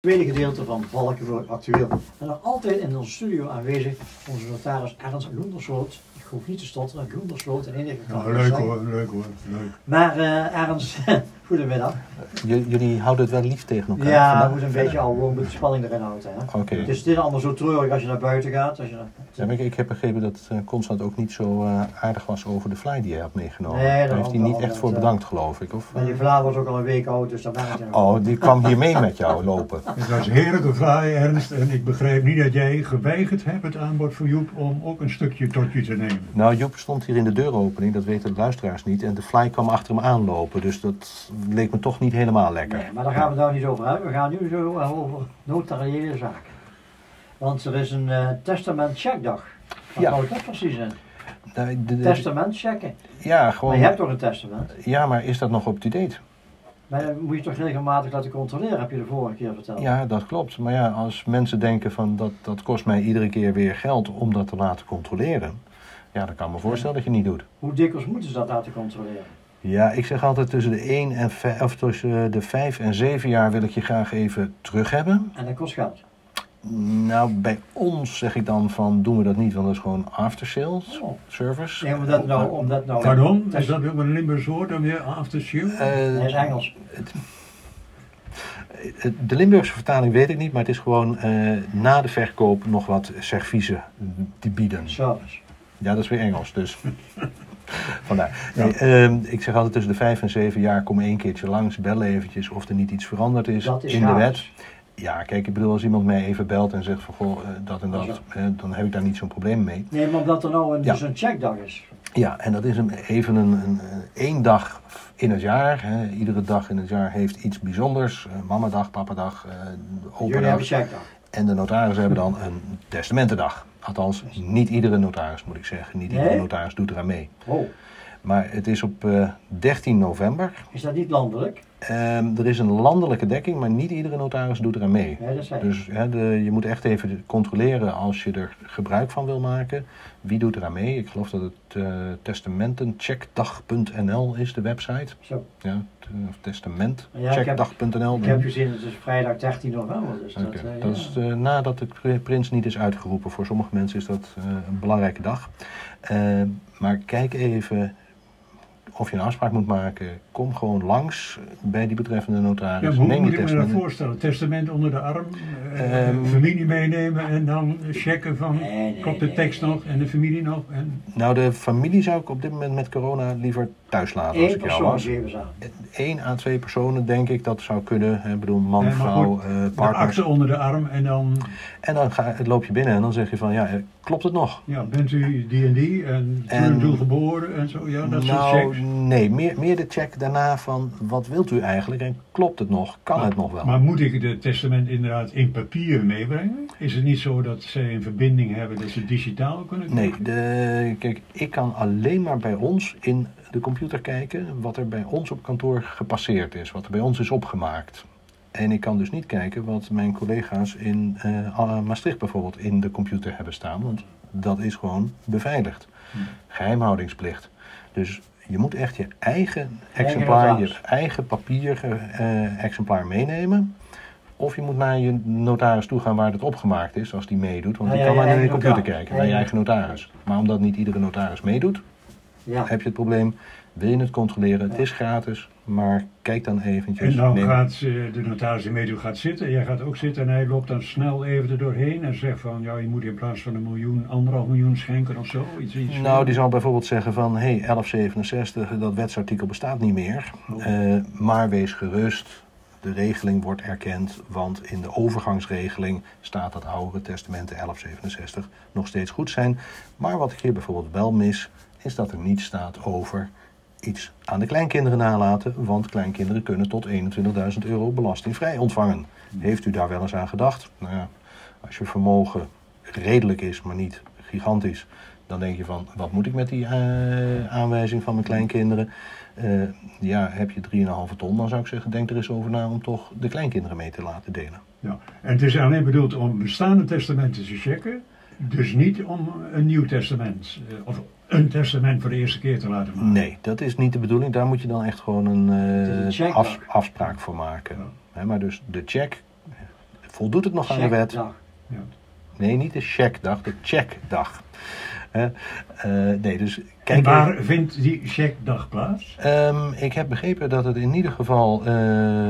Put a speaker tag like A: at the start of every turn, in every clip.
A: tweede gedeelte van Valken voor Actueel. En nog altijd in onze studio aanwezig onze notaris Ernst Loendersloot. Ik hoef niet te stotteren, Loendersloot en enige kan
B: Nou,
A: het
B: leuk
A: zijn.
B: hoor, leuk hoor, leuk.
A: Maar eh Ernst, goedemiddag.
C: J- jullie houden het wel lief tegen elkaar.
A: ja, we
C: vandaag.
A: moeten een beetje dus- al gewoon de spanning erin houden. Hè?
C: Oké.
A: Het is dit allemaal zo treurig als je naar buiten gaat. Als je naar...
C: Ja, maar ik, ik heb begrepen dat eh, Constant ook niet zo eh, aardig was over de fly die hij had meegenomen.
A: Nee, dat
C: Daar heeft
A: had-
C: hij niet
A: dat
C: echt
A: had,
C: voor
A: eh,
C: bedankt, geloof ik. Of, eh?
A: Maar die Vlaam was ook al een week oud, dus daar maakt het niet uit.
C: oh, die kwam hier mee met jou lopen.
B: Het was heerlijke fraai, Ernst. En ik begrijp niet dat jij geweigerd hebt het aanbod van Joep om ook een stukje tot je te nemen.
C: Nou, Joep stond hier in de deuropening, dat weten de luisteraars niet. En de fly kwam achter hem aanlopen, dus dat leek me toch niet helemaal lekker.
A: Nee, maar daar gaan we het nou niet over hebben. We gaan nu zo eh, over notariële zaken. Want er is een eh, testamentcheckdag. Wat
C: Ja.
A: houdt dat precies in?
C: Nou, de- de-
A: Testament checken.
C: ja,
A: Maar je hebt
C: gewoon,
A: toch een testament?
C: ja, maar is dat nog up-to-date?
A: Maar dan moet je toch regelmatig laten controleren, heb je de vorige keer verteld.
C: Ja, dat klopt. Maar ja, als mensen denken van dat, dat kost mij iedere keer weer geld om dat te laten controleren. Ja, dan kan ik me voorstellen dat je niet doet.
A: Hoe dikwijls moeten ze dat laten controleren?
C: Ja, ik zeg altijd tussen de 1 en 5, of tussen de 5 en 7 jaar wil ik je graag even terug hebben.
A: En dat kost geld.
C: Nou, bij ons zeg ik dan van doen we dat niet, want dat is gewoon after sales
A: Oh.
C: service.
A: Nee, omdat nou, omdat nou
B: Pardon? Is
A: Test-
B: dat ook een Limburgs woord dan weer after show?
C: Eh,
A: Nee, is Engels.
C: de Limburgse vertaling weet ik niet, maar het is gewoon eh, na de verkoop nog wat serviezen te bieden.
A: Service.
C: Ja, dat is weer Engels, dus. Vandaar.
B: Ja.
C: Nee, ehm, ik zeg altijd tussen de vijf en zeven jaar kom één keertje langs, bel eventjes of er niet iets veranderd is,
A: Dat is
C: in de wet.
A: gratis.
C: Ja, kijk, ik bedoel, als iemand mij even belt en zegt van goh, eh, dat en dat,
A: Ja.
C: eh, dan heb ik daar niet zo'n probleem mee.
A: Nee, maar omdat er nou een,
C: Ja.
A: dus een checkdag is.
C: Ja, en dat is een, even een, een, een- één dag in het jaar. Hè. Iedere dag in het jaar heeft iets bijzonders. Eh, mamadag, papadag, eh
A: Jullie
C: opa
A: hebben checkdag.
C: En de notaris hebben dan een testamentendag. Althans, niet iedere notaris moet ik zeggen. Niet iedere
A: Nee?
C: notaris doet eraan mee.
A: Oh,
C: Maar het is op eh, 13 november.
A: is dat niet landelijk?
C: Ehm, er is een landelijke dekking, maar niet iedere notaris doet eraan mee.
A: Nee, dat zijn.
C: Dus hè, de, je moet echt even controleren als je er gebruik van wil maken. Wie doet eraan mee? Ik geloof dat het eh, testamentencheckdag.nl is de website.
A: Zo.
C: Ja, t- of
A: Ja, ik heb-
C: testamentcheckdag.nl.
A: Ik heb gezien, het is vrijdag 13 november. Dus
C: Oké,
A: dat, eh,
C: dat
A: ja.
C: is eh, nadat de pri- prins niet is uitgeroepen. Voor sommige mensen is dat eh, een belangrijke dag. Eh, maar kijk even of je een afspraak moet maken. Kom gewoon langs bij die betreffende
B: Ja, maar
C: notaris.
B: hoe
C: Neem je
B: moet ik me dat
C: testament.
B: voorstellen? Testament onder de arm, eh,
C: Ehm.
B: familie meenemen en dan checken van
A: Nee, nee,
B: klopt de
A: nee,
B: tekst
A: nee.
B: nog en de familie nog. En,
C: Nou, de familie zou ik op dit moment met corona liever thuis laten. Als
A: Eén
C: ik jou
A: persoon
C: was.
A: geven ze aan.
C: Eén à twee personen denk ik dat zou kunnen. Ik bedoel, man,
B: Nee, maar
C: vrouw,
B: goed,
C: eh,
B: de akte
C: partners.
B: onder de arm en dan
C: En dan ga, loop je binnen en dan zeg je van ja, eh, klopt het nog?
B: ja, bent u die en die en toen en
C: En-
A: Ehm,
B: toen geboren en zo. Ja, dat soort
C: nou,
B: checks.
C: nee, meer, meer de check daarna van wat wilt u eigenlijk en klopt het nog? Kan het nog wel?
B: Maar moet ik het testament inderdaad in papier meebrengen? Is het niet zo dat ze een verbinding hebben dat ze digitaal kunnen
C: nee,
B: krijgen?
C: de, kijk, ik kan alleen maar bij ons in de computer kijken wat er bij ons op kantoor gepasseerd is, wat er bij ons is opgemaakt. En ik kan dus niet kijken wat mijn collega's in eh, ah, Maastricht bijvoorbeeld in de computer hebben staan, want dat is gewoon beveiligd.
B: Hm.
C: Geheimhoudingsplicht. Dus je moet echt je eigen exemplaar, je
A: notaris.
C: eigen papier eh, exemplaar meenemen. Of je moet naar je notaris toe gaan waar het opgemaakt is, als die meedoet. Want
A: Naar
C: die
A: je
C: kan maar in de
A: eigen
C: computer
A: notaris.
C: kijken, bij je eigen notaris. Maar omdat niet iedere notaris meedoet,
A: Ja.
C: heb je het probleem. Wil je het controleren? Het is gratis, maar kijk dan eventjes.
B: En dan
C: Neem-
B: gaat eh, de notaris die meedoet gaat zitten, jij gaat ook zitten en hij loopt dan snel even er doorheen en zegt van ja, je moet in plaats van een miljoen, anderhalf miljoen schenken of zo. Iets, iets
C: Nou, die zal bijvoorbeeld zeggen van, hé, hey, 1167, dat wetsartikel bestaat niet meer.
B: Oh.
C: Eh, maar wees gerust, de regeling wordt erkend, want in de overgangsregeling staat dat oudere testamenten 1167 nog steeds goed zijn. Maar wat ik hier bijvoorbeeld wel mis, is dat er niet staat over iets aan de kleinkinderen nalaten, want kleinkinderen kunnen tot 21.000 euro belastingvrij ontvangen. Heeft u daar wel eens aan gedacht? Nou ja, als je vermogen redelijk is, maar niet gigantisch, dan denk je van, wat moet ik met die eh, aanwijzing van mijn kleinkinderen? Eh, ja, heb je 3,5 ton, dan zou ik zeggen, denk er eens over na om toch de kleinkinderen mee te laten delen.
B: Ja. En het is alleen bedoeld om bestaande testamenten te checken, dus niet om een nieuw testament eh, of een testament voor de eerste keer te laten maken.
C: Nee, dat is niet de bedoeling. Daar moet je dan echt gewoon een, eh,
A: Het is een check
C: afs-
A: ook.
C: afspraak voor maken. Hè, maar dus de check, Voldoet het nog aan de wet?
A: Checkdag.
B: Ja.
C: Nee, niet de checkdag, de checkdag. Hè? Eh, nee, dus
B: En
C: kijk even.
B: waar vindt die checkdag plaats?
C: Ehm, ik heb begrepen dat het in ieder geval eh,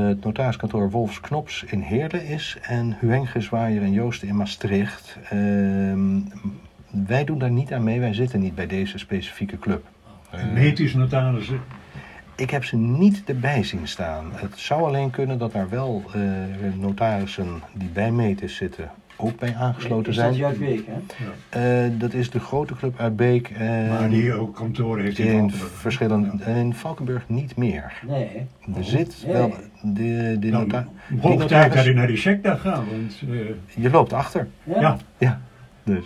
C: het notariskantoor Wolfs Knops in Heerlen is en Huenges, Waaier en Joosten in Maastricht. Ehm, wij doen daar niet aan mee, wij zitten niet bij deze specifieke club. Eh,
B: Metisch notarissen.
C: ik heb ze niet erbij zien staan. Het zou alleen kunnen dat daar wel eh, notarissen die bij Metis zitten ook bij aangesloten
A: Is
C: zijn.
A: Dat juist week, hè?
B: Ja.
C: Eh, dat is de grote club uit Beek. en
B: Maar die ook kantoren heeft in
C: in
B: Valkenburg.
C: verschillende. en In Valkenburg niet meer.
A: Nee. hè?
C: Er zit
A: Nee.
C: wel. De, de
B: Nou,
C: nota- die
B: hoog tijd dat
C: notaris-
B: je naar die checkdag gaat, want eh,
C: Je loopt achter.
A: Ja.
B: ja,
C: Ja, dus.